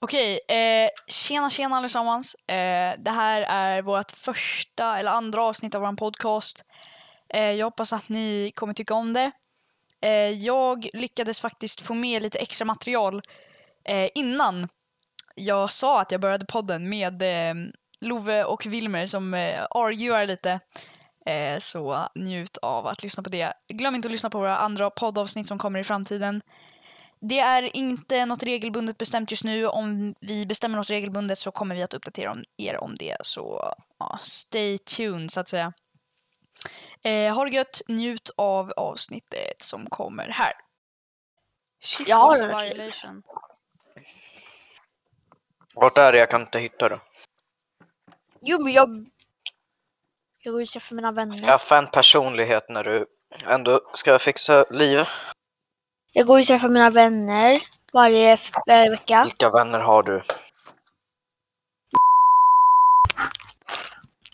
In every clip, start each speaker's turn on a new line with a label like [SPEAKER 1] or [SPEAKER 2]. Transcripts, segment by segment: [SPEAKER 1] Okej, eh, tjena tjena allesammans. Eh, det här är vårt första eller andra avsnitt av vår podcast. Eh, jag hoppas att ni kommer tycka om det. Eh, jag lyckades faktiskt få med lite extra material eh, innan jag sa att jag började podden med eh, Love och Wilmer som eh, arguar lite. Eh, så njut av att lyssna på det. Glöm inte att lyssna på våra andra poddavsnitt som kommer i framtiden. Det är inte något regelbundet bestämt just nu. Om vi bestämmer något regelbundet så kommer vi att uppdatera om er om det. Så ja, stay tuned så att säga. Eh, ha det gött, njut av avsnittet som kommer här. Shit, alltså,
[SPEAKER 2] Jag har
[SPEAKER 1] what's a
[SPEAKER 2] den här tiden.
[SPEAKER 1] violation?
[SPEAKER 3] Vart är det? Jag kan inte hitta det.
[SPEAKER 2] Jo, men jag... Jag går och träffar mina vänner.
[SPEAKER 3] Skaffa en personlighet när du ändå ska fixa livet.
[SPEAKER 2] Jag går och träffar mina vänner varje, f- varje vecka.
[SPEAKER 3] Vilka vänner har du?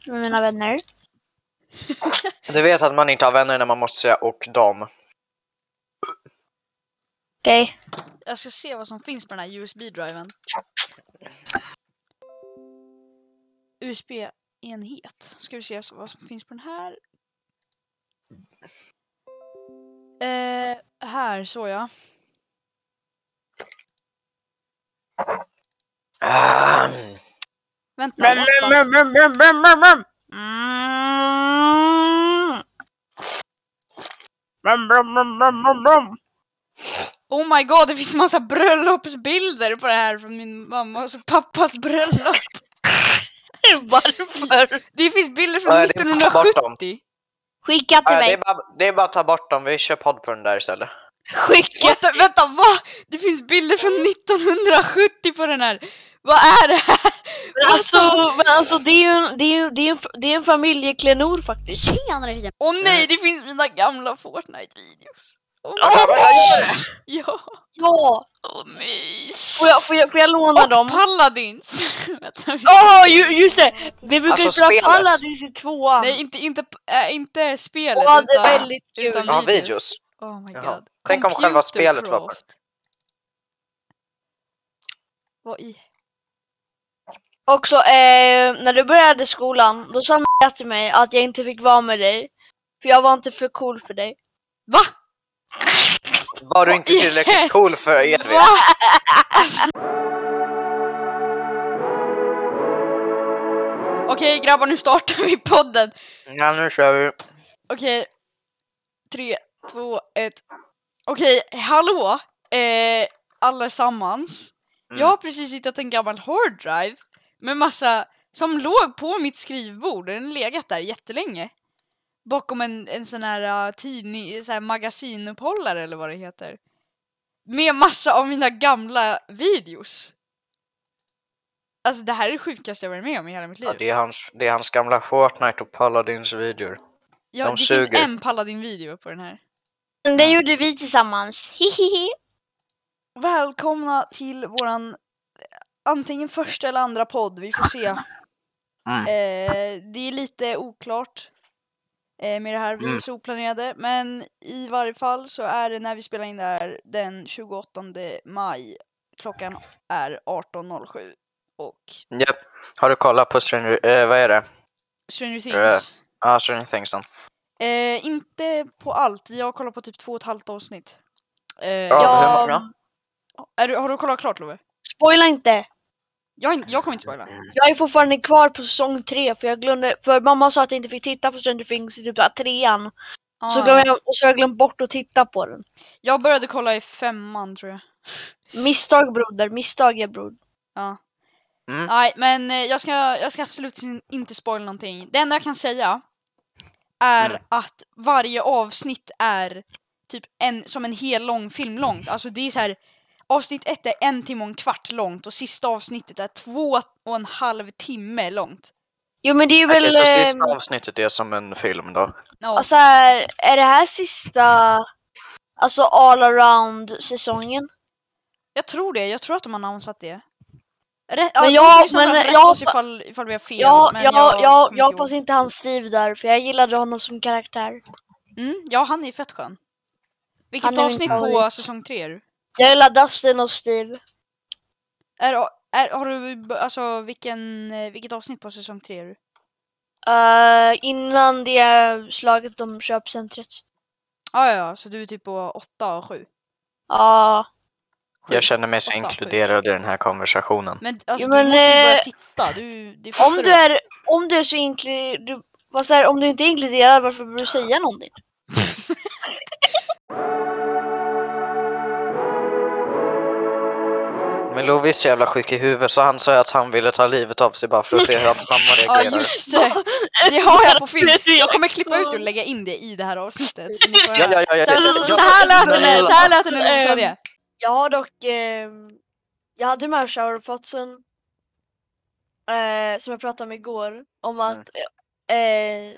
[SPEAKER 2] Med mina vänner.
[SPEAKER 3] Du vet att man inte har vänner när man måste säga och dam.
[SPEAKER 2] Okej.
[SPEAKER 1] Jag ska se vad som finns på den här USB-driven. USB-enhet. Ska vi se så- vad som finns på den här. Eh, här, så ja.
[SPEAKER 3] Ehm,
[SPEAKER 1] Vänta,
[SPEAKER 2] Men-
[SPEAKER 1] vänta. Oh my god, det finns massa bröllopsbilder på det här från min mammas och pappas bröllop.
[SPEAKER 2] Varför?
[SPEAKER 1] Det finns bilder från
[SPEAKER 3] Nej, det är bara bort dem.
[SPEAKER 1] 1970.
[SPEAKER 2] Skicka till
[SPEAKER 3] nej, det, är
[SPEAKER 2] mig.
[SPEAKER 3] bara, det är bara att ta bort dem. Vi kör podd på den där istället.
[SPEAKER 2] Skicka.
[SPEAKER 1] Vänta, vänta, vad? Det finns bilder från 1970 på den här. Vad är det här?
[SPEAKER 2] Men alltså, men alltså det är ju en, det är ju, det är en, f- det är en familjeklenod faktiskt.
[SPEAKER 4] Tjenare tjejer!
[SPEAKER 1] Åh
[SPEAKER 3] Eh.
[SPEAKER 1] nej, det finns mina gamla Fortnite-videos. Åh
[SPEAKER 3] Ja,
[SPEAKER 1] nej.
[SPEAKER 3] men jag gör det.
[SPEAKER 1] Ja,
[SPEAKER 2] Ja!
[SPEAKER 1] åh nej.
[SPEAKER 2] Får jag, får jag, får jag låna
[SPEAKER 1] Och
[SPEAKER 2] dem?
[SPEAKER 1] Paladins. vänta, vi-
[SPEAKER 2] Ja, ju, just det! Vi brukar ju
[SPEAKER 3] Alltså,
[SPEAKER 2] spela
[SPEAKER 3] spelet.
[SPEAKER 2] Paladins i
[SPEAKER 3] Ah.
[SPEAKER 2] tvåan.
[SPEAKER 1] Nej, inte, inte, äh, inte spelet
[SPEAKER 2] Åh, det är
[SPEAKER 1] utan...
[SPEAKER 2] väldigt kul.
[SPEAKER 1] utan-
[SPEAKER 3] Ja,
[SPEAKER 1] Videos.
[SPEAKER 3] videos.
[SPEAKER 1] Oh my god.
[SPEAKER 3] Jaha. Tänk om själva spelet var
[SPEAKER 1] Computercraft. Vad i...
[SPEAKER 2] Också, eh, när du började skolan, då sa Maria till mig att jag inte fick vara med dig. För jag var inte för cool för dig.
[SPEAKER 1] Va?
[SPEAKER 3] Var du inte
[SPEAKER 1] Oj.
[SPEAKER 3] tillräckligt cool för Edvin?
[SPEAKER 1] Va? Okej grabbar, nu startar vi podden.
[SPEAKER 3] Ja, nu kör vi.
[SPEAKER 1] Okej. Tre, två, ett. Okej, hallå! Eh, allesammans.
[SPEAKER 3] Mm.
[SPEAKER 1] Jag har precis hittat en gammal hårddrive med massa som låg på mitt skrivbord. Den har legat där jättelänge. Bakom en, en sån här uh, tidning, så här magasinuppehållare eller vad det heter. Med massa av mina gamla videos. Alltså det här är det sjukaste jag varit med om i hela mitt liv.
[SPEAKER 3] Ja, det, är hans, det är hans gamla Fortnite och Paladins-videor.
[SPEAKER 1] ja,
[SPEAKER 3] de
[SPEAKER 1] det finns
[SPEAKER 3] suger.
[SPEAKER 1] en Paladin-video på den här.
[SPEAKER 2] Men det gjorde vi tillsammans. Hihihi.
[SPEAKER 1] Välkomna till våran antingen första eller andra podd, vi får se.
[SPEAKER 3] Mm.
[SPEAKER 1] Eh, det är lite oklart eh, med det här, vi är
[SPEAKER 3] Mm.
[SPEAKER 1] så oplanerade. Men i varje fall så är det när vi spelar in det här den 28 maj. Klockan är 18.07 och
[SPEAKER 3] Japp. Har du kollat på Stranger... eh, vad är det?
[SPEAKER 1] Stranger
[SPEAKER 3] Eh.
[SPEAKER 1] Things.
[SPEAKER 3] Ah, Stranger Things. sen.
[SPEAKER 1] Eh, inte på allt, vi har kollat på typ två och ett halvt avsnitt. Eh,
[SPEAKER 3] Ja,
[SPEAKER 2] Ja.
[SPEAKER 3] hur många?
[SPEAKER 1] är du, har du kollat klart Love?
[SPEAKER 2] Spoila inte!
[SPEAKER 1] Jag, har in- jag kommer inte spoila.
[SPEAKER 2] Jag är fortfarande kvar på säsong tre för jag glömde, för mamma sa att jag inte fick titta på Stranger Things i typ där trean. Så
[SPEAKER 1] Ah.
[SPEAKER 2] glömde jag, och så har jag glömt bort att titta på den.
[SPEAKER 1] jag började kolla i femman tror jag.
[SPEAKER 2] Misstag broder, misstag är bror.
[SPEAKER 3] Mm.
[SPEAKER 1] Nej, men eh, jag ska, jag ska absolut in- inte spoila någonting. Det enda jag kan säga är
[SPEAKER 3] Mm.
[SPEAKER 1] att varje avsnitt är typ en, som en hel lång film långt. Alltså det är så här, avsnitt ett är en timme och en kvart långt och sista avsnittet är två och en halv timme långt.
[SPEAKER 2] Jo men det är väl...
[SPEAKER 3] Okej, så sista
[SPEAKER 2] ehm,
[SPEAKER 3] avsnittet är som en film då.
[SPEAKER 1] Ja,
[SPEAKER 2] alltså här, är det här sista, alltså all around säsongen?
[SPEAKER 1] jag tror det, jag tror att de har annonsat det. Rätt, ja,
[SPEAKER 2] Men
[SPEAKER 1] men
[SPEAKER 2] jag-
[SPEAKER 1] jag, men,
[SPEAKER 2] men
[SPEAKER 1] rätt
[SPEAKER 2] jag-
[SPEAKER 1] oss ifall, ifall vi har fel.
[SPEAKER 2] Ja,
[SPEAKER 1] men
[SPEAKER 2] jag, jag, jag,
[SPEAKER 1] kommer inte ihåg.
[SPEAKER 2] hoppas inte han Steve där, för jag gillade honom som karaktär.
[SPEAKER 1] Mm, ja, han är fett skön. Vilket
[SPEAKER 2] Han är min
[SPEAKER 1] avsnitt på
[SPEAKER 2] favorit.
[SPEAKER 1] säsong tre är du?
[SPEAKER 2] Jag gillar Dustin och Steve.
[SPEAKER 1] Är det Är, har du, alltså vilken, eh, vilket avsnitt på säsong tre är du?
[SPEAKER 2] Eh, innan det slaget om köpcentret.
[SPEAKER 1] Ah, ja, ja, så du är typ på åtta och sju.
[SPEAKER 2] Ja,
[SPEAKER 1] Sju.
[SPEAKER 3] Jag känner mig så
[SPEAKER 1] Åtta, sju.
[SPEAKER 3] inkluderad i den här konversationen.
[SPEAKER 1] Men alltså,
[SPEAKER 2] Jo, men,
[SPEAKER 1] du måste ju börja
[SPEAKER 2] eh,
[SPEAKER 1] titta. Du, det
[SPEAKER 2] om
[SPEAKER 1] fattar
[SPEAKER 2] du är, om du är så inkli- du, vad säger, om du inte är inkluderad, varför behöver du säga någonting?
[SPEAKER 3] Men Lovis är så jävla sjuk i huvudet så han sa att han ville ta livet av sig bara för att se hur hans mamma
[SPEAKER 1] Ja,
[SPEAKER 3] reagerar.
[SPEAKER 1] just det. Det har jag på film. Jag kommer klippa ut och lägga in det i det här avsnittet. Så ni får
[SPEAKER 3] Ja, ja,
[SPEAKER 1] höra.
[SPEAKER 3] ja, ja,
[SPEAKER 1] Så, alltså,
[SPEAKER 3] ja.
[SPEAKER 1] så, så, så här lät det när- så här lät det när du sa det.
[SPEAKER 2] Jag har dock, ehm, jag hade med shower potsen eh, som jag pratade om igår, om
[SPEAKER 3] Mm.
[SPEAKER 2] att eh, eh,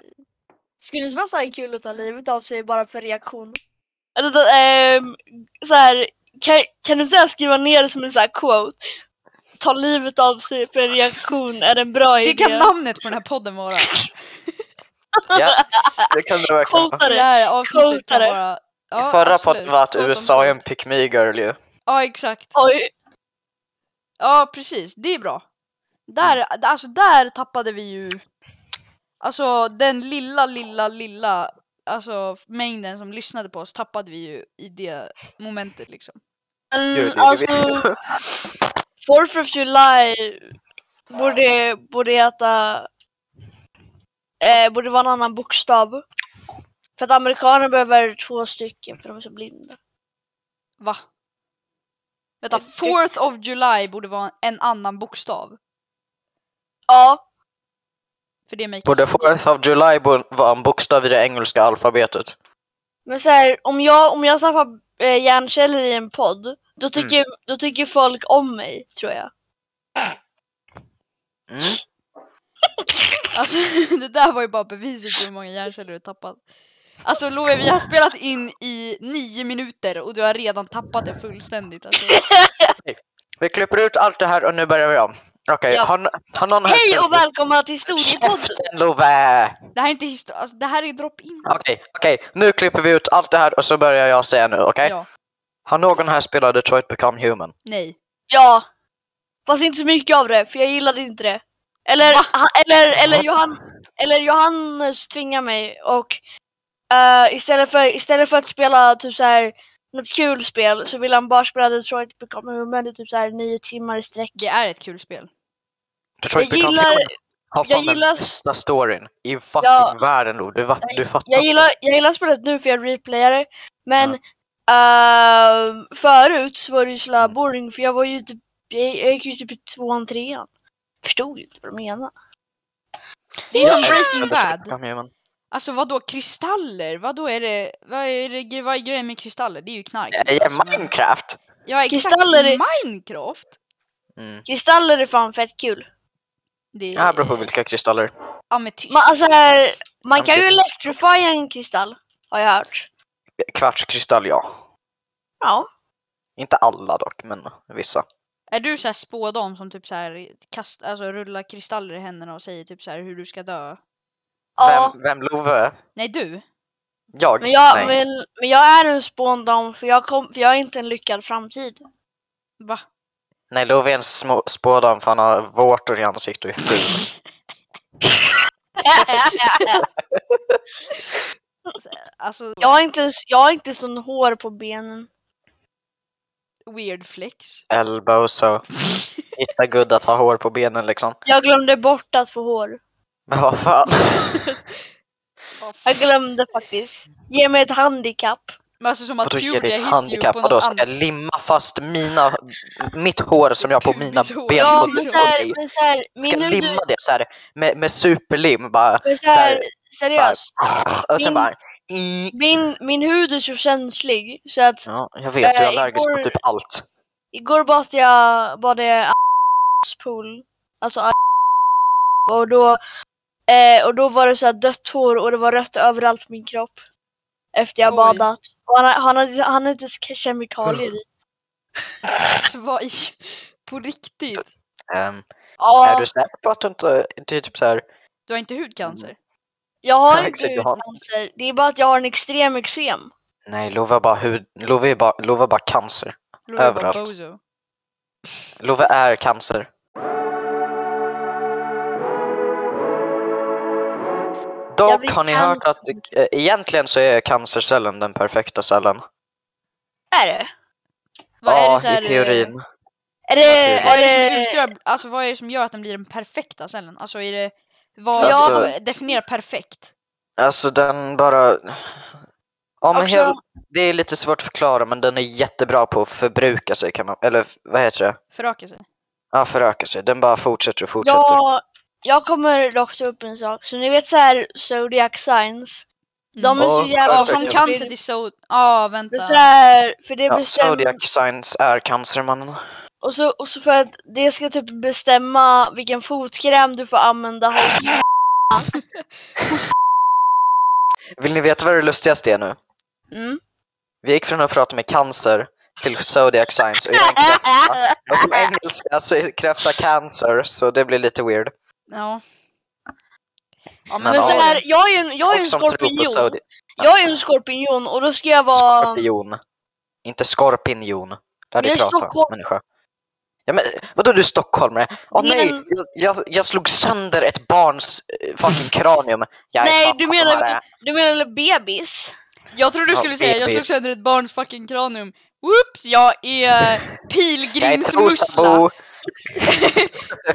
[SPEAKER 2] skulle det inte vara så här kul att ta livet av sig bara för reaktion? Eller, eh, så här, kan, kan du så här skriva ner det som en så här quote? Ta livet av sig för en reaktion är en bra
[SPEAKER 1] Det
[SPEAKER 2] idé.
[SPEAKER 1] kan namnet på den här podden vara.
[SPEAKER 3] ja. Det kan det verkligen vara.
[SPEAKER 2] Quota
[SPEAKER 1] Det
[SPEAKER 2] det.
[SPEAKER 1] här avsnittet kan
[SPEAKER 2] Quotare.
[SPEAKER 1] vara... Ja,
[SPEAKER 3] Förra
[SPEAKER 1] absolut.
[SPEAKER 3] podden var att
[SPEAKER 1] Quote om
[SPEAKER 3] USA är
[SPEAKER 1] quote.
[SPEAKER 3] en pick me girl ju.
[SPEAKER 1] Ja, exakt.
[SPEAKER 2] Oj,
[SPEAKER 1] Ja, precis. Det är bra. Där,
[SPEAKER 2] Mm.
[SPEAKER 1] alltså, där tappade vi ju... Alltså den lilla, lilla, lilla alltså, mängden som lyssnade på oss tappade vi ju i det momentet liksom.
[SPEAKER 2] men
[SPEAKER 3] Gör det, det
[SPEAKER 2] alltså,
[SPEAKER 3] vet
[SPEAKER 2] 4th of July borde, borde heta... Eh, borde vara en annan bokstav. För att amerikaner behöver två stycken för de är så blinda.
[SPEAKER 1] Va? Vänta,
[SPEAKER 2] Det- det-
[SPEAKER 1] 4th of July borde vara en annan bokstav.
[SPEAKER 2] Ja,
[SPEAKER 1] För det makes
[SPEAKER 3] Både
[SPEAKER 1] sense.
[SPEAKER 3] 4th of July bo- var en bokstav i det engelska alfabetet.
[SPEAKER 2] men så här, om jag, om jag tappar eh, hjärnceller i en podd, då tycker, då tycker folk om mig, tror jag.
[SPEAKER 3] Mm.
[SPEAKER 1] Alltså det där var ju bara beviset på hur många hjärnceller du tappat. Alltså Love, vi har spelat in i nio minuter och du har redan tappat det fullständigt. Alltså.
[SPEAKER 3] Vi klipper ut allt det här och nu börjar vi om. Okej,
[SPEAKER 2] Ja.
[SPEAKER 3] har, n- har någon här
[SPEAKER 2] Hej
[SPEAKER 3] sett-
[SPEAKER 2] och välkomna till Historiepodden!
[SPEAKER 3] Käften, Love!
[SPEAKER 1] Det här är inte histo- alltså, det här är drop-in.
[SPEAKER 3] Okej, okej. Nu klipper vi ut allt det här och så börjar jag säga nu, okej?
[SPEAKER 1] Ja.
[SPEAKER 3] Har någon här spelat Detroit Become Human?
[SPEAKER 1] Nej.
[SPEAKER 2] Ja! Fast inte så mycket av det, för jag gillade inte det. Eller, ha, eller, eller,
[SPEAKER 3] Va?
[SPEAKER 2] Johan, eller Johannes tvingade mig och eh, istället, för, istället för att spela typ så här något kul spel så ville han bara spela Detroit Become Human i typ så här nio timmar i sträck.
[SPEAKER 1] Det är ett kul spel.
[SPEAKER 3] Detroit
[SPEAKER 2] Jag gillar,
[SPEAKER 3] har
[SPEAKER 2] jag
[SPEAKER 3] fan
[SPEAKER 2] gillar-
[SPEAKER 3] den bästa storyn i fucking
[SPEAKER 2] Ja.
[SPEAKER 3] världen Lo. Du, va- du fattar.
[SPEAKER 2] jag, gillar, jag gillar spelet nu för jag replayar det, men ehm, förut så var det ju så jävla
[SPEAKER 3] Mm.
[SPEAKER 2] boring för jag var ju typ, jag, jag gick ju typ i tvåan, trean. Förstod ju inte vad de menade.
[SPEAKER 1] Det är som
[SPEAKER 3] Jag älskar
[SPEAKER 1] Breaking
[SPEAKER 3] Detroit
[SPEAKER 1] Bad.
[SPEAKER 3] Become Human.
[SPEAKER 1] Alltså vad då kristaller? Vad då är det? Vad är det? Vad är grejen med kristaller? Det är ju knark.
[SPEAKER 3] Jag gillar
[SPEAKER 1] Alltså,
[SPEAKER 3] Eh, Minecraft!
[SPEAKER 1] Ja, exakt.
[SPEAKER 2] Kristaller är-
[SPEAKER 1] Minecraft?
[SPEAKER 3] Mm.
[SPEAKER 2] Kristaller är fan fett kul.
[SPEAKER 1] Det
[SPEAKER 3] Det här beror på vilka kristaller.
[SPEAKER 1] Ametyst.
[SPEAKER 2] Man, alltså, här, man
[SPEAKER 3] Ja,
[SPEAKER 2] kan ju
[SPEAKER 3] precis.
[SPEAKER 2] electrifiera en kristall, har jag hört.
[SPEAKER 3] Kvartskristall, ja.
[SPEAKER 2] Ja.
[SPEAKER 3] Inte alla dock, men vissa.
[SPEAKER 1] Är du så här spådam som typ så här kast, alltså rullar kristaller i händerna och säger typ så här hur du ska dö?
[SPEAKER 2] ja.
[SPEAKER 3] Vem, vem Love?
[SPEAKER 1] Nej, du.
[SPEAKER 3] Jag?
[SPEAKER 2] Men, jag,
[SPEAKER 3] Nej.
[SPEAKER 2] men, men jag är en spåndam för jag, kom, för jag har inte en lyckad framtid.
[SPEAKER 1] Va?
[SPEAKER 3] Nej, Love är en små- spådam för han har vårtor i ansiktet och är ful.
[SPEAKER 1] Alltså,
[SPEAKER 2] jag, har inte, jag har inte sån hår på benen.
[SPEAKER 1] weird flex.
[SPEAKER 3] Elbow så. Hitta good att ha hår på benen liksom.
[SPEAKER 2] Jag glömde bort att få hår.
[SPEAKER 3] Men vad fan.
[SPEAKER 1] Vad
[SPEAKER 2] Jag glömde faktiskt. Ge mig ett handikapp.
[SPEAKER 1] Men alltså som att
[SPEAKER 3] Vadå ge
[SPEAKER 1] Pewdie
[SPEAKER 3] ditt
[SPEAKER 1] hit you
[SPEAKER 3] handikapp?
[SPEAKER 1] på
[SPEAKER 3] Vadå
[SPEAKER 1] något
[SPEAKER 3] ska jag
[SPEAKER 1] annat.
[SPEAKER 3] limma fast mina, mitt hår som jag har på mina
[SPEAKER 1] Pubishår.
[SPEAKER 3] ben
[SPEAKER 2] Ja,
[SPEAKER 3] på
[SPEAKER 2] men
[SPEAKER 1] så
[SPEAKER 3] på
[SPEAKER 2] såhär,
[SPEAKER 3] dig?
[SPEAKER 2] men såhär,
[SPEAKER 3] Ska
[SPEAKER 2] min
[SPEAKER 3] jag
[SPEAKER 2] hud,
[SPEAKER 3] limma det så här med, med superlim bara?
[SPEAKER 2] men
[SPEAKER 3] så här-
[SPEAKER 2] såhär, seriöst.
[SPEAKER 3] Och sen
[SPEAKER 2] Min-
[SPEAKER 3] bara... mm.
[SPEAKER 2] Min, min hud är så känslig så att
[SPEAKER 3] Ja, jag vet, du är
[SPEAKER 2] Eh,
[SPEAKER 3] allergisk
[SPEAKER 2] igår-
[SPEAKER 3] mot typ allt.
[SPEAKER 2] Igår bad jag, bad jag a**s pool. Alltså a**s och då, eh, och då var det så här dött hår och det var rött överallt på min kropp. Efter jag
[SPEAKER 1] Oj.
[SPEAKER 2] badat. Och han, har- han, hade, han hade inte ens ke- kemikalier i.
[SPEAKER 1] Alltså, vad i... På riktigt.
[SPEAKER 3] Ehm,
[SPEAKER 2] Ja,
[SPEAKER 3] Är du säker på att du inte... Det är typ så här...
[SPEAKER 1] Du har inte
[SPEAKER 3] Mm.
[SPEAKER 1] hudcancer?
[SPEAKER 2] jag har
[SPEAKER 3] Ja,
[SPEAKER 2] inte
[SPEAKER 3] exakt, du har.
[SPEAKER 2] hudcancer. Det är bara att jag har en extrem eksem.
[SPEAKER 3] Nej, Lova bara hud... Lova är bara, Lova är bara cancer.
[SPEAKER 1] Lova är bara
[SPEAKER 3] Överallt.
[SPEAKER 1] bozo.
[SPEAKER 3] Love är cancer.
[SPEAKER 2] Jag
[SPEAKER 3] Dock
[SPEAKER 2] blir
[SPEAKER 3] har ni
[SPEAKER 2] cancer.
[SPEAKER 3] hört att eh, egentligen så är cancercellen den perfekta cellen.
[SPEAKER 2] Är det?
[SPEAKER 1] Vad är det så
[SPEAKER 3] ja,
[SPEAKER 1] här,
[SPEAKER 3] i
[SPEAKER 1] eh,
[SPEAKER 3] teorin.
[SPEAKER 2] Är det...
[SPEAKER 3] Okej.
[SPEAKER 1] Vad är
[SPEAKER 2] Är
[SPEAKER 1] det som
[SPEAKER 2] det,
[SPEAKER 1] utgör, alltså vad är det som gör att den blir den perfekta cellen? Alltså är det, vad
[SPEAKER 2] Ja.
[SPEAKER 1] alltså, definierar perfekt?
[SPEAKER 3] Alltså den bara... Ja, men
[SPEAKER 2] Också-
[SPEAKER 3] hel... Det är lite svårt att förklara men den är jättebra på att förbruka sig kan man... Eller vad heter det?
[SPEAKER 1] Föröka sig?
[SPEAKER 3] Ja, föröka sig. Den bara fortsätter och fortsätter.
[SPEAKER 2] ja, jag kommer dock ta upp en sak. Så ni vet så här Zodiac Signs? De
[SPEAKER 1] Mm.
[SPEAKER 2] är så
[SPEAKER 3] Och-
[SPEAKER 2] jävla...
[SPEAKER 1] Ja,
[SPEAKER 3] perfekt.
[SPEAKER 1] som cancer till so... Ja, vänta.
[SPEAKER 2] Det är så här, för det
[SPEAKER 3] Ja,
[SPEAKER 2] bestämmer...
[SPEAKER 3] Zodiac Signs är cancermannen.
[SPEAKER 2] Och så, och så för att det ska typ bestämma vilken fotkräm du får använda hos...
[SPEAKER 3] Vill ni veta vad det lustigaste är nu?
[SPEAKER 2] Mm.
[SPEAKER 3] Vi gick från att prata med cancer till Zodiac Signs och jag engelska. Och på engelska så är kräfta cancer så det blir lite weird.
[SPEAKER 1] Ja. Ja, men,
[SPEAKER 3] Men
[SPEAKER 2] Men
[SPEAKER 1] så
[SPEAKER 2] så
[SPEAKER 3] ja.
[SPEAKER 2] här, jag är ju en, jag är
[SPEAKER 3] Folk
[SPEAKER 2] ju en
[SPEAKER 3] som tror på
[SPEAKER 2] skorpion.
[SPEAKER 3] Zodiac.
[SPEAKER 2] Jag är ju en skorpion och då ska jag vara...
[SPEAKER 3] Skorpion. Inte skorpinjon. Där
[SPEAKER 2] Jag
[SPEAKER 3] du
[SPEAKER 2] är
[SPEAKER 3] pratar
[SPEAKER 2] Stockholm-
[SPEAKER 3] människa. Ja, men, vadå du är stockholmare? Åh
[SPEAKER 2] Men-
[SPEAKER 3] nej! jag- Jag, jag slog sönder ett barns eh, fucking kranium. Jag är
[SPEAKER 2] Nej, du menar-
[SPEAKER 3] stockholmare.
[SPEAKER 2] Du menar bebis?
[SPEAKER 1] Jag trodde du
[SPEAKER 3] Ja,
[SPEAKER 1] skulle säga jag slog
[SPEAKER 3] bebis.
[SPEAKER 1] sönder ett barns fucking kranium. Whoops, jag är
[SPEAKER 3] Jag är oh,
[SPEAKER 1] pilgrimsmussla.
[SPEAKER 3] Trosabo.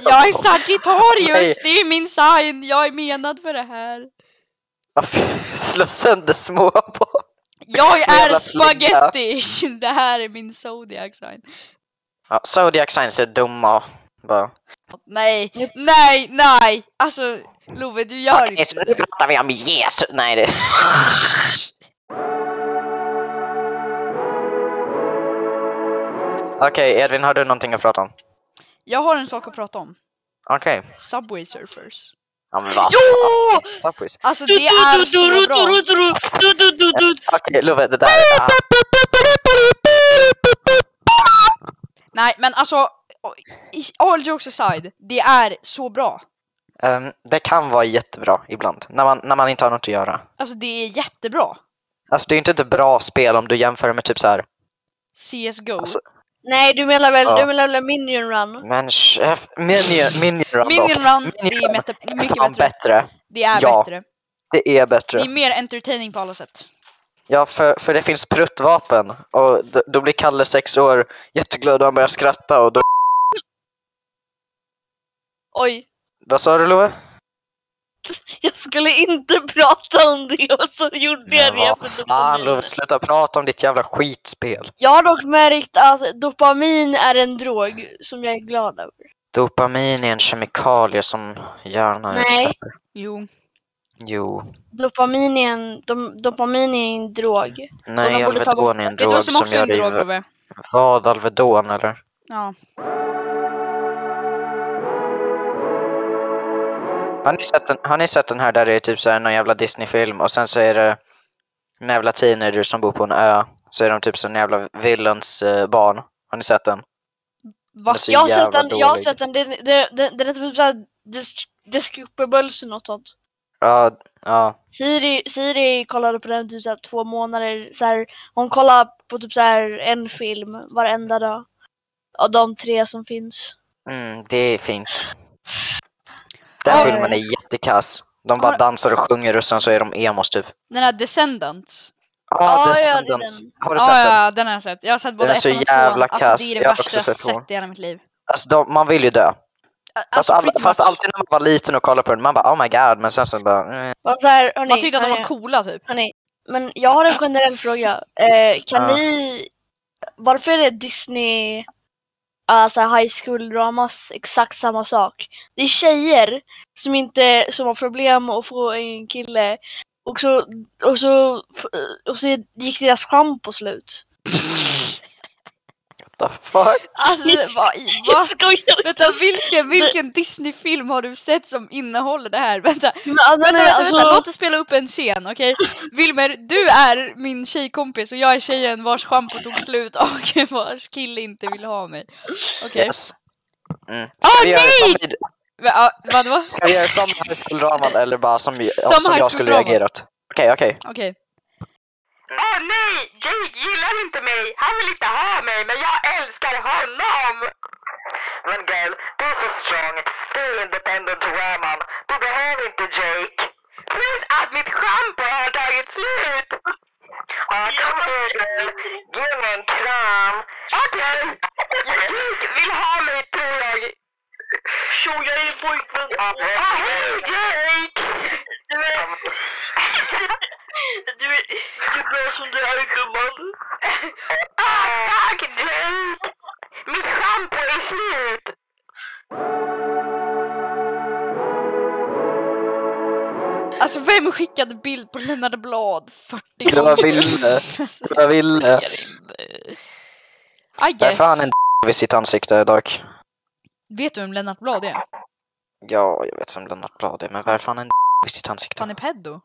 [SPEAKER 1] Jag är Sagittarius,
[SPEAKER 3] Nej.
[SPEAKER 1] det är min sign. Jag är menad för det här.
[SPEAKER 3] Slå sönder små barn.
[SPEAKER 1] Jag är
[SPEAKER 3] Jävla slinga.
[SPEAKER 1] spaghetti. Det här är min zodiac sign.
[SPEAKER 3] Ja, Zodiac signs är dumma. Bara.
[SPEAKER 1] Nej, nej, nej. Alltså, Love, du gör
[SPEAKER 3] Okej,
[SPEAKER 1] inte
[SPEAKER 3] så
[SPEAKER 1] det.
[SPEAKER 3] nu pratar vi om Jesus. Nej, det... Okej, Edvin, har du någonting att prata om?
[SPEAKER 1] Jag har en sak att prata om.
[SPEAKER 3] Okej.
[SPEAKER 1] Subway surfers.
[SPEAKER 3] Ja, men vad?
[SPEAKER 2] Jo!
[SPEAKER 3] Subways.
[SPEAKER 1] Alltså det är så bra.
[SPEAKER 3] Okej, Love, det där är... Ah,
[SPEAKER 1] Nej, men alltså. i- All jokes aside, det är så bra.
[SPEAKER 3] ehm, det kan vara jättebra ibland, när man, när man inte har något att göra.
[SPEAKER 1] Alltså det är jättebra.
[SPEAKER 3] Alltså, det är inte ett bra spel om du jämför med typ så här.
[SPEAKER 1] CSGO.
[SPEAKER 3] Alltså,
[SPEAKER 2] Nej, du menar väl,
[SPEAKER 3] Ja.
[SPEAKER 2] du menar väl Minion Run?
[SPEAKER 3] Men chef, eh, Minion, Minion Run dock.
[SPEAKER 1] Minion Run, det
[SPEAKER 3] Minion
[SPEAKER 1] är
[SPEAKER 3] Run
[SPEAKER 1] meta-
[SPEAKER 3] är
[SPEAKER 1] mycket
[SPEAKER 3] fan
[SPEAKER 1] bättre.
[SPEAKER 3] bättre.
[SPEAKER 1] Det är
[SPEAKER 3] Ja.
[SPEAKER 1] bättre.
[SPEAKER 3] Det är bättre.
[SPEAKER 1] Det är mer entertaining på alla sätt.
[SPEAKER 3] Ja, för, för det finns pruttvapen. Och d- då blir Kalle sex år jätteglad och han börjar skratta och då...
[SPEAKER 2] Oj,
[SPEAKER 3] Vad sa du Love?
[SPEAKER 2] jag skulle inte prata om det och så gjorde jag
[SPEAKER 3] Men
[SPEAKER 2] det.
[SPEAKER 3] vad
[SPEAKER 2] för
[SPEAKER 3] Fan
[SPEAKER 2] dopamin.
[SPEAKER 3] Love, sluta prata om ditt jävla skitspel.
[SPEAKER 2] Jag har dock märkt att dopamin är en drog som jag är glad över.
[SPEAKER 3] Dopamin är en kemikalie som hjärnan
[SPEAKER 2] Nej.
[SPEAKER 3] utsläpper.
[SPEAKER 1] Jo.
[SPEAKER 3] Jo.
[SPEAKER 2] Dopamin är en, dom, dopamin är en drog.
[SPEAKER 3] Nej,
[SPEAKER 2] de borde ta
[SPEAKER 3] Alvedon är en
[SPEAKER 1] Vet du
[SPEAKER 3] drog
[SPEAKER 1] vad som
[SPEAKER 3] som
[SPEAKER 1] också är
[SPEAKER 3] gör
[SPEAKER 1] en drog,
[SPEAKER 3] dig...
[SPEAKER 1] Love?
[SPEAKER 3] Vad, Alvedon eller?
[SPEAKER 1] Ja.
[SPEAKER 3] Har ni sett den, har ni sett den här där det är typ så här någon jävla Disney-film och sen så är det en jävla teenager som bor på en ö. Så är de typ som en jävla villens eh, barn. Har ni sett den?
[SPEAKER 1] Va?
[SPEAKER 3] Den är så
[SPEAKER 2] Jag har sett
[SPEAKER 3] Alltså, jävla
[SPEAKER 2] den, jag har
[SPEAKER 3] dålig.
[SPEAKER 2] sett den, den, den, den, den är typ såhär Discupables eller något sånt.
[SPEAKER 3] Ja, ja.
[SPEAKER 2] Siri, Siri kollade på den typ såhär två månader, såhär, hon kollade på typ såhär en film varenda dag. Av de tre som finns.
[SPEAKER 3] Mm, det är fint. Den
[SPEAKER 1] Ja.
[SPEAKER 3] filmen är jättekass. De bara
[SPEAKER 1] Ja.
[SPEAKER 3] dansar och sjunger och sen så är de emos typ.
[SPEAKER 1] Den här Descendants.
[SPEAKER 3] Ah,
[SPEAKER 2] Ja, ja, det är
[SPEAKER 3] Descendants.
[SPEAKER 2] den.
[SPEAKER 3] Har du sett
[SPEAKER 1] Ja,
[SPEAKER 3] den?
[SPEAKER 1] ja, den har jag sett. Jag har sett både
[SPEAKER 3] är så
[SPEAKER 1] ettan och tvåan.
[SPEAKER 3] jävla
[SPEAKER 1] Alltså det
[SPEAKER 3] kass.
[SPEAKER 1] är det
[SPEAKER 3] Jag har
[SPEAKER 1] värsta jag
[SPEAKER 3] också
[SPEAKER 1] har
[SPEAKER 3] sett tvåan.
[SPEAKER 1] sett i hela mitt liv.
[SPEAKER 3] Alltså, de, man vill ju dö. Fast,
[SPEAKER 1] Alltså,
[SPEAKER 3] alla,
[SPEAKER 1] pretty
[SPEAKER 3] fast
[SPEAKER 1] much.
[SPEAKER 3] alltid när man var liten och kollade på den, man bara oh my god, men sen så bara... Eh.
[SPEAKER 2] Och så här, hörni,
[SPEAKER 1] Man tyckte att de var
[SPEAKER 2] hörni,
[SPEAKER 1] coola typ.
[SPEAKER 2] hörni, men jag har en generell fråga. Eh, kan
[SPEAKER 3] Ja.
[SPEAKER 2] ni, varför är Disney, alltså high school dramas, exakt samma sak? Det är tjejer som inte, som har problem att få en kille och så, och så, och så gick deras charm på slut.
[SPEAKER 3] What the fuck?
[SPEAKER 1] Alltså, vad i...
[SPEAKER 2] Jag
[SPEAKER 1] Va?
[SPEAKER 2] skojar!
[SPEAKER 1] Vänta, vilken, vilken Disney-film har du sett som innehåller det här? Vänta,
[SPEAKER 2] Men, alltså,
[SPEAKER 1] vänta,
[SPEAKER 2] nej,
[SPEAKER 1] vänta,
[SPEAKER 2] alltså,
[SPEAKER 1] vänta. låt oss spela upp en scen, okej? Wilmer, du är min tjejkompis och jag är tjejen vars schampo tog slut och vars kille inte vill ha mig. Okej.
[SPEAKER 3] Yes. Mm. Ska, vi göra
[SPEAKER 1] nej!
[SPEAKER 3] som i-
[SPEAKER 1] Va- ja, Vad då?
[SPEAKER 3] ska vi göra som i High School Dramat eller bara som, som,
[SPEAKER 1] Som
[SPEAKER 3] som
[SPEAKER 1] High
[SPEAKER 3] jag
[SPEAKER 1] School
[SPEAKER 3] skulle
[SPEAKER 1] Drama.
[SPEAKER 3] reagerat? Okej, okej.
[SPEAKER 1] Okej.
[SPEAKER 4] Åh nej, Jake gillar inte mig. Han vill inte ha mig, men jag älskar honom. Men girl, du är så strong. Du är independent woman. Du behöver inte Jake. Plus att mitt schampo har tagit slut! Ja, kom igen girl. Ge mig en kram. Okej! Jake vill ha mig tror jag.
[SPEAKER 5] Tjo, jag är din pojkvän!
[SPEAKER 4] Ja, ah, hej Jake!
[SPEAKER 5] Du är... Du är lika bra som du är gumman.
[SPEAKER 4] Ah, tack Jake! Mitt schampo är slut!
[SPEAKER 1] Alltså vem skickade bild på Lennart Blad 40
[SPEAKER 3] Det var Ville.
[SPEAKER 1] Alltså,
[SPEAKER 3] Jag eh, ville.
[SPEAKER 1] jag vet inte. I guess.
[SPEAKER 3] Därför har han en d- vid sitt ansikte dock.
[SPEAKER 1] Vet du vem Lennart Blad är?
[SPEAKER 3] Ja, jag vet vem Lennart Blad är, men varför har han en d- vid sitt ansikte?
[SPEAKER 1] Han är peddo.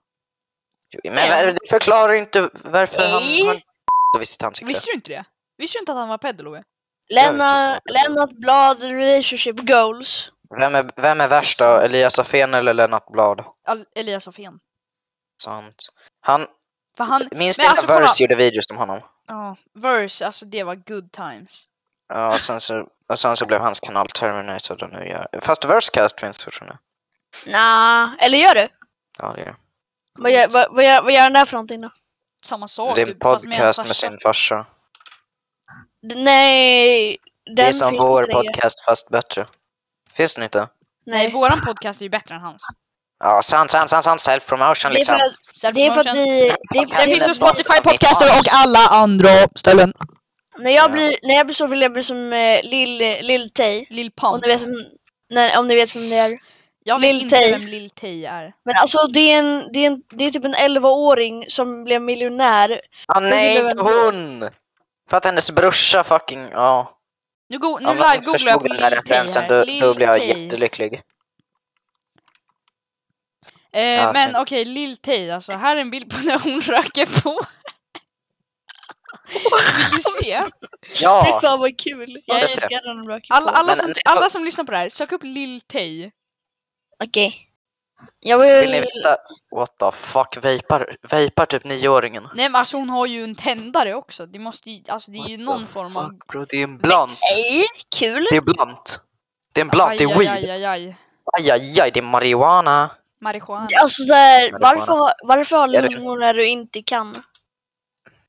[SPEAKER 3] Jo, Men var- det förklarar inte varför han
[SPEAKER 2] Nej.
[SPEAKER 3] har en d- vid sitt ansikte.
[SPEAKER 1] Visste du inte det? Visste du inte att han var peddo Love?
[SPEAKER 2] Lennart, Lennart Blad, relationship goals.
[SPEAKER 3] Vem är, vem är värst då? Elias Afén eller Lennart Blad?
[SPEAKER 1] Al- Elias Afén.
[SPEAKER 3] Sant. Han,
[SPEAKER 1] För han,
[SPEAKER 3] minns
[SPEAKER 1] Men
[SPEAKER 3] ni
[SPEAKER 1] alltså,
[SPEAKER 3] när
[SPEAKER 1] kolla.
[SPEAKER 3] Verse gjorde videos om honom?
[SPEAKER 1] ja, Verse, alltså det var good times.
[SPEAKER 3] Ja, och sen så, och sen så blev hans kanal Terminated och nu gör... Fast Versecast finns fortfarande.
[SPEAKER 2] Nah, eller gör du?
[SPEAKER 3] Ja, det gör
[SPEAKER 2] Vad gör, vad, vad, gör, vad gör han där för någonting då?
[SPEAKER 1] Samma
[SPEAKER 3] det.
[SPEAKER 1] sak,
[SPEAKER 3] Det är en
[SPEAKER 1] typ, fast med en
[SPEAKER 3] podcast med
[SPEAKER 1] farsa.
[SPEAKER 3] sin farsa.
[SPEAKER 2] D- Nej, den
[SPEAKER 3] Det är som
[SPEAKER 2] finns
[SPEAKER 3] vår
[SPEAKER 2] inte längre.
[SPEAKER 3] podcast fast bättre. Finns den inte?
[SPEAKER 1] Nej,
[SPEAKER 2] Nej,
[SPEAKER 1] våran podcast är ju bättre än hans.
[SPEAKER 3] Ja, sant, sant, sant, sant. Self-promotion
[SPEAKER 2] det är
[SPEAKER 3] liksom.
[SPEAKER 2] för att, det är för att vi... Det är,
[SPEAKER 1] Den
[SPEAKER 3] Den
[SPEAKER 2] det
[SPEAKER 1] finns
[SPEAKER 2] är
[SPEAKER 1] på
[SPEAKER 2] för att,
[SPEAKER 1] Spotify-podcaster och alla andra ställen.
[SPEAKER 2] när, jag blir, när jag blir så vill jag bli som eh, Lill, Lill Tay.
[SPEAKER 1] Lil
[SPEAKER 2] Om
[SPEAKER 1] Pump.
[SPEAKER 2] ni vet, vem- när, om ni vet vem det är.
[SPEAKER 1] Jag vet
[SPEAKER 2] Lil
[SPEAKER 1] inte
[SPEAKER 2] Tay.
[SPEAKER 1] vem Lil Tay är.
[SPEAKER 2] Men alltså det är, en, det, är en, det är typ en 11-åring som blev miljonär.
[SPEAKER 3] Ja, Ah, nej,
[SPEAKER 2] gillar
[SPEAKER 3] inte
[SPEAKER 2] väl-
[SPEAKER 3] hon! För att hennes brorsa fucking... Ja.
[SPEAKER 1] Nu, go- nu
[SPEAKER 3] Om någon
[SPEAKER 1] live-googlar jag
[SPEAKER 3] förstod
[SPEAKER 1] på
[SPEAKER 3] den här
[SPEAKER 1] Lil Tay
[SPEAKER 3] referensen
[SPEAKER 1] här.
[SPEAKER 3] då,
[SPEAKER 1] Lil
[SPEAKER 3] då blir jag
[SPEAKER 1] Tay.
[SPEAKER 3] jättelycklig.
[SPEAKER 1] Eh,
[SPEAKER 3] Ja,
[SPEAKER 1] men
[SPEAKER 3] synd.
[SPEAKER 1] okej, Lil Tay alltså. Här är en bild på när hon röker på. Vill du se?
[SPEAKER 2] Fy
[SPEAKER 3] Ja!
[SPEAKER 2] fan vad kul. Jag
[SPEAKER 3] det ser
[SPEAKER 2] älskar den röker på.
[SPEAKER 1] Alla, alla,
[SPEAKER 3] Men-
[SPEAKER 1] som, alla som lyssnar på det här, sök upp Lil Tay.
[SPEAKER 2] Okej. Jag
[SPEAKER 3] Vill ni
[SPEAKER 2] vill...
[SPEAKER 3] veta? What the fuck? Vapar, vapar typ nioåringen?
[SPEAKER 1] Nej men alltså hon har ju en tändare också. Det måste ju, alltså det är ju
[SPEAKER 3] What
[SPEAKER 1] någon
[SPEAKER 3] the
[SPEAKER 1] form av...
[SPEAKER 3] Fuck, bro, det är en blunt.
[SPEAKER 2] Nej, kul.
[SPEAKER 3] Det är blunt. Det är en blunt, det är
[SPEAKER 1] Aj, aj,
[SPEAKER 3] weed.
[SPEAKER 1] aj, aj, aj.
[SPEAKER 3] Aj, aj, aj, det är marijuana.
[SPEAKER 1] Marijuana.
[SPEAKER 2] Alltså såhär,
[SPEAKER 3] Ja, det är
[SPEAKER 2] varför, har- varför har
[SPEAKER 3] Ja, det-
[SPEAKER 2] lungor när du inte kan?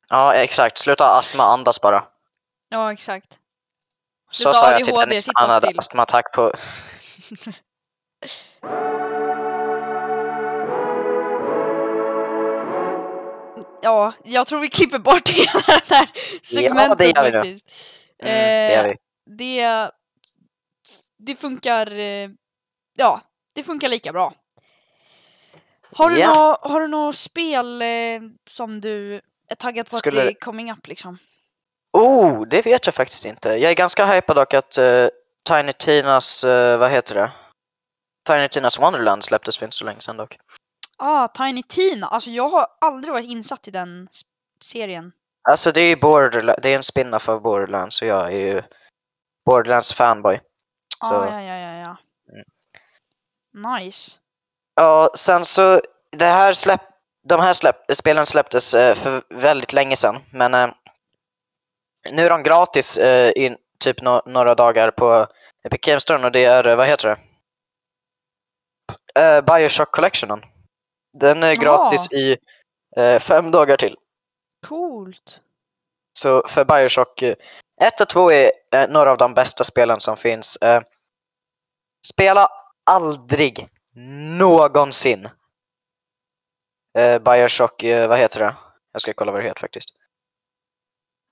[SPEAKER 3] Ja, exakt. Sluta astma, andas bara.
[SPEAKER 1] Ja, exakt.
[SPEAKER 3] Så
[SPEAKER 1] Sluta
[SPEAKER 3] sa jag till
[SPEAKER 1] ADHD,
[SPEAKER 3] Dennis,
[SPEAKER 1] sitta
[SPEAKER 3] han hade
[SPEAKER 1] still.
[SPEAKER 3] astmaattack på...
[SPEAKER 1] Ja, jag tror vi klipper bort hela det här segmentet
[SPEAKER 3] gör vi då.
[SPEAKER 1] faktiskt.
[SPEAKER 3] Mm, det
[SPEAKER 1] Eh,
[SPEAKER 3] gör vi.
[SPEAKER 1] det, det funkar... eh, Ja, det funkar lika bra. Har du
[SPEAKER 3] Ja.
[SPEAKER 1] nå- har du något spel eh, som du är taggad på
[SPEAKER 3] Skulle-
[SPEAKER 1] att det är coming up liksom?
[SPEAKER 3] Oh, det vet jag faktiskt inte. Jag är ganska hypad dock att eh, Tiny Tinas, eh, vad heter det? Tiny Tinas Wonderland släpptes för inte så länge sedan dock.
[SPEAKER 1] Ah, Tiny Tina. Alltså jag har aldrig varit insatt i den s- serien.
[SPEAKER 3] Alltså det är ju Borderla- det är en spin-off av Borderlands och jag är ju Borderlands fanboy. Så. mm.
[SPEAKER 1] Ah, ja, ja, ja, ja. Nice.
[SPEAKER 3] Ja, sen så, det här släpp, de här släpp, spelen släpptes eh, för väldigt länge sedan, men eh, nu är de gratis eh, i typ nå- några dagar på Epic Games Store och det är, eh, vad heter det? Eh, Bioshock Collectionen. Den är gratis i eh, fem dagar till.
[SPEAKER 1] Coolt.
[SPEAKER 3] Så för Bioshock eh, 1 och 2 är eh, några av de bästa spelen som finns. Eh, spela aldrig någonsin eh, Bioshock, eh, vad heter det? Jag ska kolla vad det heter faktiskt.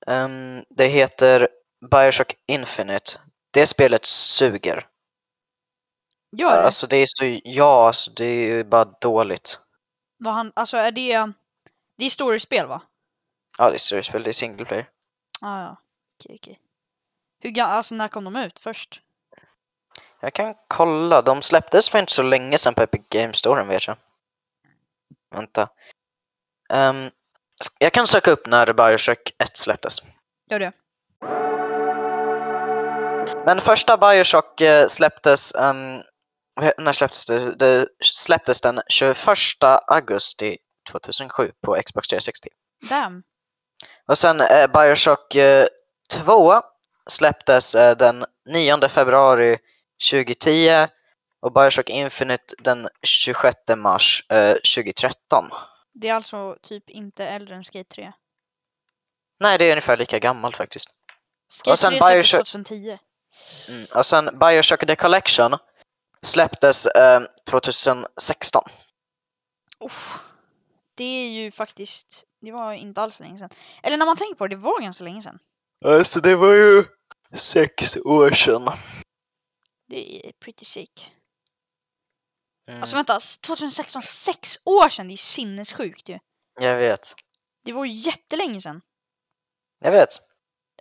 [SPEAKER 3] Ehm, det heter Bioshock Infinite. Det spelet suger.
[SPEAKER 1] Gör det.
[SPEAKER 3] Alltså det är så, ja, alltså, det är ju bara dåligt.
[SPEAKER 1] Vad han, alltså är det... Det är storyspel va?
[SPEAKER 3] Ja, det är storyspel, det är single player.
[SPEAKER 1] Ah, ja, okej, okej. Hur ga- alltså när kom de ut först?
[SPEAKER 3] Jag kan kolla, de släpptes för inte så länge sedan på Epic Games Store vet jag. Vänta. Ehm, s- jag kan söka upp när Bioshock 1 släpptes.
[SPEAKER 1] Gör det.
[SPEAKER 3] Men första Bioshock eh, släpptes, ehm, vad he- när släpptes det? det? släpptes den 21 augusti 2007 på Xbox 360.
[SPEAKER 1] Damn.
[SPEAKER 3] Och sen eh, Bioshock eh, 2 släpptes eh, den 9 februari 2010 och Bioshock Infinite den 26 mars eh, 2013.
[SPEAKER 1] Det är alltså typ inte äldre än Skate 3.
[SPEAKER 3] Nej, det är ungefär lika gammalt faktiskt.
[SPEAKER 1] Skate 3
[SPEAKER 3] sen
[SPEAKER 1] släpptes
[SPEAKER 3] Bioshock-
[SPEAKER 1] 2010.
[SPEAKER 3] Mm. Och sen Bioshock The Collection släpptes eh, 2016.
[SPEAKER 1] Uff. Det är ju faktiskt, det var inte alls länge sedan. Eller när man tänker på det, det var ganska länge sedan.
[SPEAKER 3] Alltså det var ju sex år sedan.
[SPEAKER 1] Det är pretty sick.
[SPEAKER 3] Mm,
[SPEAKER 1] Alltså vänta, s- 2016, sex år sedan! Det är sinnessjukt ju.
[SPEAKER 3] jag vet.
[SPEAKER 1] Det var ju jättelänge sedan.
[SPEAKER 3] Jag vet.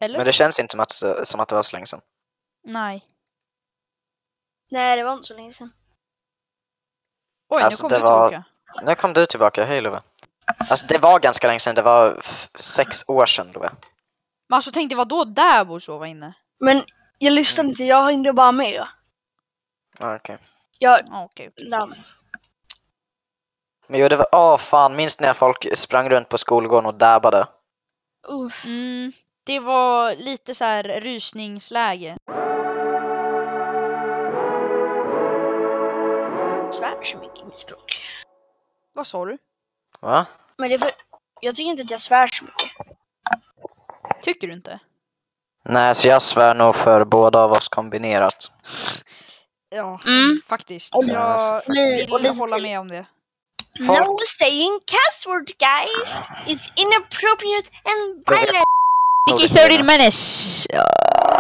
[SPEAKER 1] Eller?
[SPEAKER 3] Men det känns inte som att, som att det var så länge sedan.
[SPEAKER 1] Nej.
[SPEAKER 2] Nej, det var inte så länge sedan.
[SPEAKER 1] Oj, nu
[SPEAKER 3] Alltså, det
[SPEAKER 1] kom du
[SPEAKER 3] var-
[SPEAKER 1] tillbaka.
[SPEAKER 3] Nu kom du tillbaka, hej Love. Alltså det var ganska länge sedan, det var f- sex år sedan Love.
[SPEAKER 1] Men alltså tänk dig vad då Dabo så var inne.
[SPEAKER 2] Men jag
[SPEAKER 3] Mm.
[SPEAKER 2] lyssnade inte, jag hängde bara med.
[SPEAKER 3] Ja, Ah, okej.
[SPEAKER 2] Jag,
[SPEAKER 1] Ja, Ah, Okej.
[SPEAKER 2] ja.
[SPEAKER 3] Men jo, det var, åh fan, minns ni när folk sprang runt på skolgården och dabbade?
[SPEAKER 2] uff.
[SPEAKER 1] Mm, det var lite så här rysningsläge.
[SPEAKER 2] svär så mycket i mitt språk.
[SPEAKER 1] Vad sa du?
[SPEAKER 3] Va?
[SPEAKER 2] Men det är för, jag tycker inte att jag svär så mycket.
[SPEAKER 1] Tycker du inte?
[SPEAKER 3] Nej, så jag svär nog för båda av oss kombinerat.
[SPEAKER 1] Ja,
[SPEAKER 2] Mm.
[SPEAKER 1] faktiskt.
[SPEAKER 2] Och lite-
[SPEAKER 1] Jag
[SPEAKER 2] Li- och
[SPEAKER 1] vill
[SPEAKER 2] lite
[SPEAKER 1] hålla
[SPEAKER 2] till.
[SPEAKER 1] med om det.
[SPEAKER 2] No saying cuss word guys! It's inappropriate and violent!
[SPEAKER 1] Mickey 30 minutes. Uh,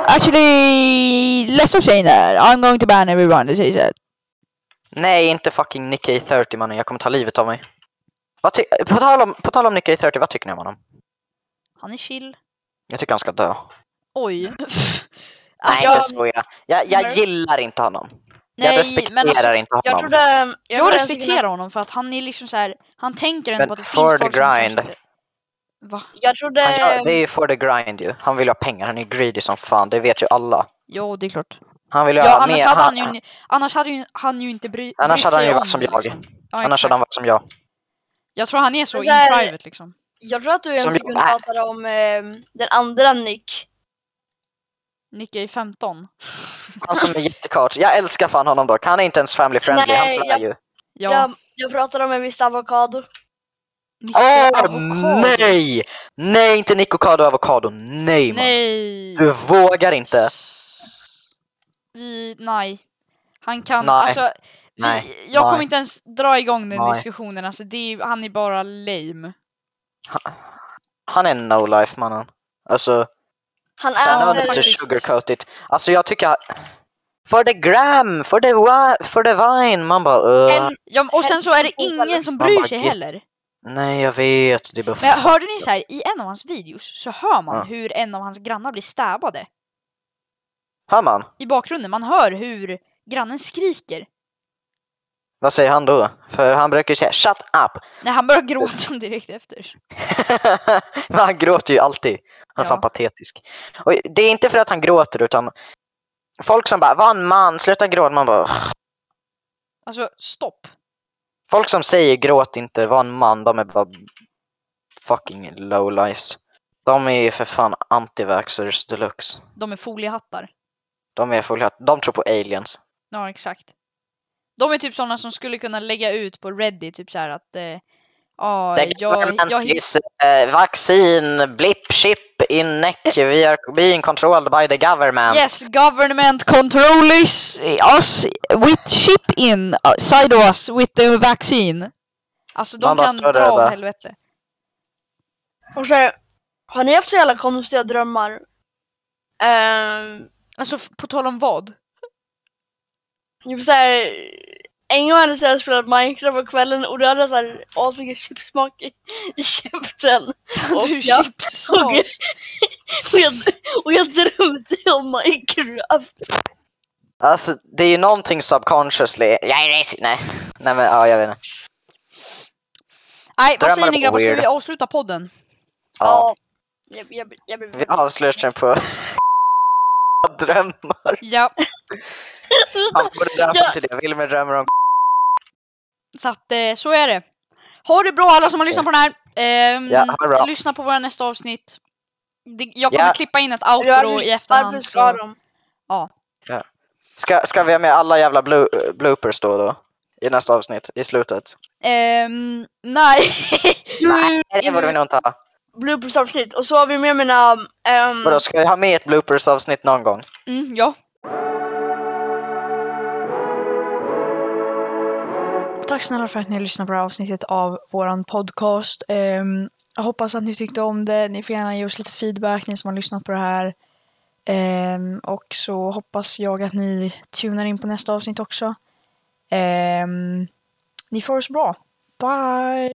[SPEAKER 1] actually, let's stop saying that. I'm going to ban everyone that says that.
[SPEAKER 3] Nej, inte fucking Nikkei 30 mannen, jag kommer ta livet av mig. Vad ty- på, tal om, på tal om Nikkei 30, vad tycker ni om honom?
[SPEAKER 1] Han är chill.
[SPEAKER 3] Jag tycker han ska dö.
[SPEAKER 1] Oj.
[SPEAKER 3] Nej,
[SPEAKER 1] alltså,
[SPEAKER 3] jag skojar. Jag, jag
[SPEAKER 2] Nej.
[SPEAKER 3] gillar inte honom.
[SPEAKER 1] nej,
[SPEAKER 3] jag respekterar
[SPEAKER 1] men alltså,
[SPEAKER 3] inte honom.
[SPEAKER 2] Jag trodde...
[SPEAKER 1] jag,
[SPEAKER 2] trodde
[SPEAKER 1] respekterar honom för att han är liksom så här. Han tänker ändå
[SPEAKER 3] Men
[SPEAKER 1] på att det finns
[SPEAKER 3] for the
[SPEAKER 1] folk som
[SPEAKER 3] grind.
[SPEAKER 1] kanske inte- Va?
[SPEAKER 2] Jag trodde...
[SPEAKER 3] Han gör, det är ju for the grind ju. Han vill ha pengar, han är greedy som fan, det vet ju alla.
[SPEAKER 1] Jo, det är klart.
[SPEAKER 3] Han vill ju
[SPEAKER 1] Ja,
[SPEAKER 3] ha
[SPEAKER 1] annars
[SPEAKER 3] mer.
[SPEAKER 1] hade han ju, annars hade ju, han ju inte bry,
[SPEAKER 3] annars
[SPEAKER 1] brytt
[SPEAKER 3] hade han
[SPEAKER 1] sig
[SPEAKER 3] ju
[SPEAKER 1] om
[SPEAKER 3] varit som
[SPEAKER 1] det,
[SPEAKER 3] jag.
[SPEAKER 1] liksom. Ja,
[SPEAKER 3] Annars
[SPEAKER 1] exakt.
[SPEAKER 3] hade han varit som jag.
[SPEAKER 1] Jag tror han är så,
[SPEAKER 2] Så här-
[SPEAKER 1] in private liksom.
[SPEAKER 2] Jag tror att du en
[SPEAKER 3] Som jag
[SPEAKER 2] sekund
[SPEAKER 3] är.
[SPEAKER 2] pratade om ehm, den andra Nick.
[SPEAKER 1] Nicky är 15.
[SPEAKER 3] Han som är jättekort. Jag älskar fan honom dock. Han är inte ens family friendly,
[SPEAKER 2] Nej,
[SPEAKER 3] han svär
[SPEAKER 2] jag-
[SPEAKER 3] ju.
[SPEAKER 1] Ja,
[SPEAKER 2] Jag, jag pratade om en viss avokado.
[SPEAKER 1] Mr.
[SPEAKER 3] Åh
[SPEAKER 1] Avokado.
[SPEAKER 3] nej! Nej, inte Nikocado Avocado. Nej, man.
[SPEAKER 1] Nej!
[SPEAKER 3] Du vågar inte.
[SPEAKER 1] Vi, nej. Han kan,
[SPEAKER 3] Nej.
[SPEAKER 1] alltså. Vi,
[SPEAKER 3] Nej.
[SPEAKER 1] jag
[SPEAKER 3] Nej.
[SPEAKER 1] kommer inte ens dra igång den
[SPEAKER 3] Nej.
[SPEAKER 1] diskussionen, alltså det är, han är bara lame.
[SPEAKER 3] Han är no life mannen. Alltså,
[SPEAKER 2] Han
[SPEAKER 3] så
[SPEAKER 1] Ja,
[SPEAKER 3] no
[SPEAKER 2] är...
[SPEAKER 3] need to
[SPEAKER 1] faktiskt.
[SPEAKER 3] sugarcoat it. Alltså jag tycker... For the gram, for the, wi- for the vine. Man bara uh,
[SPEAKER 2] en,
[SPEAKER 1] Ja, men- och sen så är det ingen som bryr
[SPEAKER 3] Mamma,
[SPEAKER 1] sig
[SPEAKER 3] gift.
[SPEAKER 1] heller.
[SPEAKER 3] Nej, jag vet. Det är bara...
[SPEAKER 1] Men hörde ni så här, i en av hans videos så hör man
[SPEAKER 3] Ja.
[SPEAKER 1] hur en av hans grannar blir stäbade.
[SPEAKER 3] Hör man?
[SPEAKER 1] I bakgrunden, man hör hur grannen skriker.
[SPEAKER 3] Vad säger han då? För han brukar ju säga shut up.
[SPEAKER 1] Nej, han börjar gråta direkt efter.
[SPEAKER 3] Men han gråter ju alltid. Han är
[SPEAKER 1] Ja.
[SPEAKER 3] fan patetisk. Och det är inte för att han gråter utan folk som bara var en man, sluta gråta. Man bara, "Ugh."
[SPEAKER 1] Alltså, stopp.
[SPEAKER 3] folk som säger gråt inte, var en man, de är bara fucking low lives. De är ju för fan anti-vaxxers deluxe.
[SPEAKER 1] De är foliehattar.
[SPEAKER 3] De är fulla, de tror på aliens.
[SPEAKER 1] Ja, exakt. De är typ sådana som skulle kunna lägga ut på Reddit, typ så här att... Eh, ja,
[SPEAKER 3] The
[SPEAKER 1] jag,
[SPEAKER 3] government
[SPEAKER 1] jag, hitt-
[SPEAKER 3] is eh, vaccin, blip, chip in neck, we are being controlled by the government.
[SPEAKER 1] Yes, government control is us with ship in uh, side of us with the vaccine. Alltså de
[SPEAKER 3] Man bara
[SPEAKER 1] kan
[SPEAKER 3] står
[SPEAKER 1] dra
[SPEAKER 3] där och
[SPEAKER 1] åt
[SPEAKER 3] bara-
[SPEAKER 1] helvete.
[SPEAKER 2] och så, här, har ni haft så jävla konstiga drömmar? Ehm,
[SPEAKER 1] Alltså f- på tal om vad?
[SPEAKER 2] typ så här, en gång hade jag så här spelat Minecraft på kvällen och då hade jag så här asmycket chipssmak i, i käften. Och
[SPEAKER 1] du
[SPEAKER 2] jag-
[SPEAKER 1] chips
[SPEAKER 2] Och jag, och, jag, och jag drömde om Minecraft.
[SPEAKER 3] Alltså det är ju någonting subconsciously. Jag är racist. Nej. Nej men ja, jag vet inte.
[SPEAKER 1] Nej, vad
[SPEAKER 3] Drömmar
[SPEAKER 1] säger ni
[SPEAKER 3] var
[SPEAKER 1] grabbar? Ska
[SPEAKER 3] weird.
[SPEAKER 1] vi avsluta podden?
[SPEAKER 3] Ja.
[SPEAKER 2] Jag, jag, jag blev
[SPEAKER 3] Vi avslutar på drömmar.
[SPEAKER 1] Ja,
[SPEAKER 3] Han borde döpa till det. Wilmer drömmer om
[SPEAKER 1] så att eh, så är det. Ha det bra alla som har lyssnat på den här. Ehm,
[SPEAKER 3] Ja, ha det bra.
[SPEAKER 1] lyssna på våra nästa avsnitt. Det, jag kommer
[SPEAKER 3] Ja.
[SPEAKER 1] klippa in ett
[SPEAKER 2] Varför-
[SPEAKER 1] outro i
[SPEAKER 2] Varför
[SPEAKER 1] efterhand.
[SPEAKER 2] ska
[SPEAKER 1] Så,
[SPEAKER 2] de?
[SPEAKER 3] Ska, ska vi ha med alla jävla blo bloopers då då? I nästa avsnitt, i slutet.
[SPEAKER 1] Ehm, nej.
[SPEAKER 3] Nej, det borde vi nog inte ha.
[SPEAKER 2] Bloopers-avsnitt. Och så har vi med mina... ehm,
[SPEAKER 3] Vadå, ska vi ha med ett bloopers avsnitt någon gång?
[SPEAKER 1] Mm, ja. Tack snälla för att ni lyssnade på det här avsnittet av våran podcast. Ehm, jag hoppas att ni tyckte om det. Ni får gärna ge oss lite feedback, ni som har lyssnat på det här. Ehm, och så hoppas jag att ni tunar in på nästa avsnitt också. Ehm, ni får oss bra. Bye!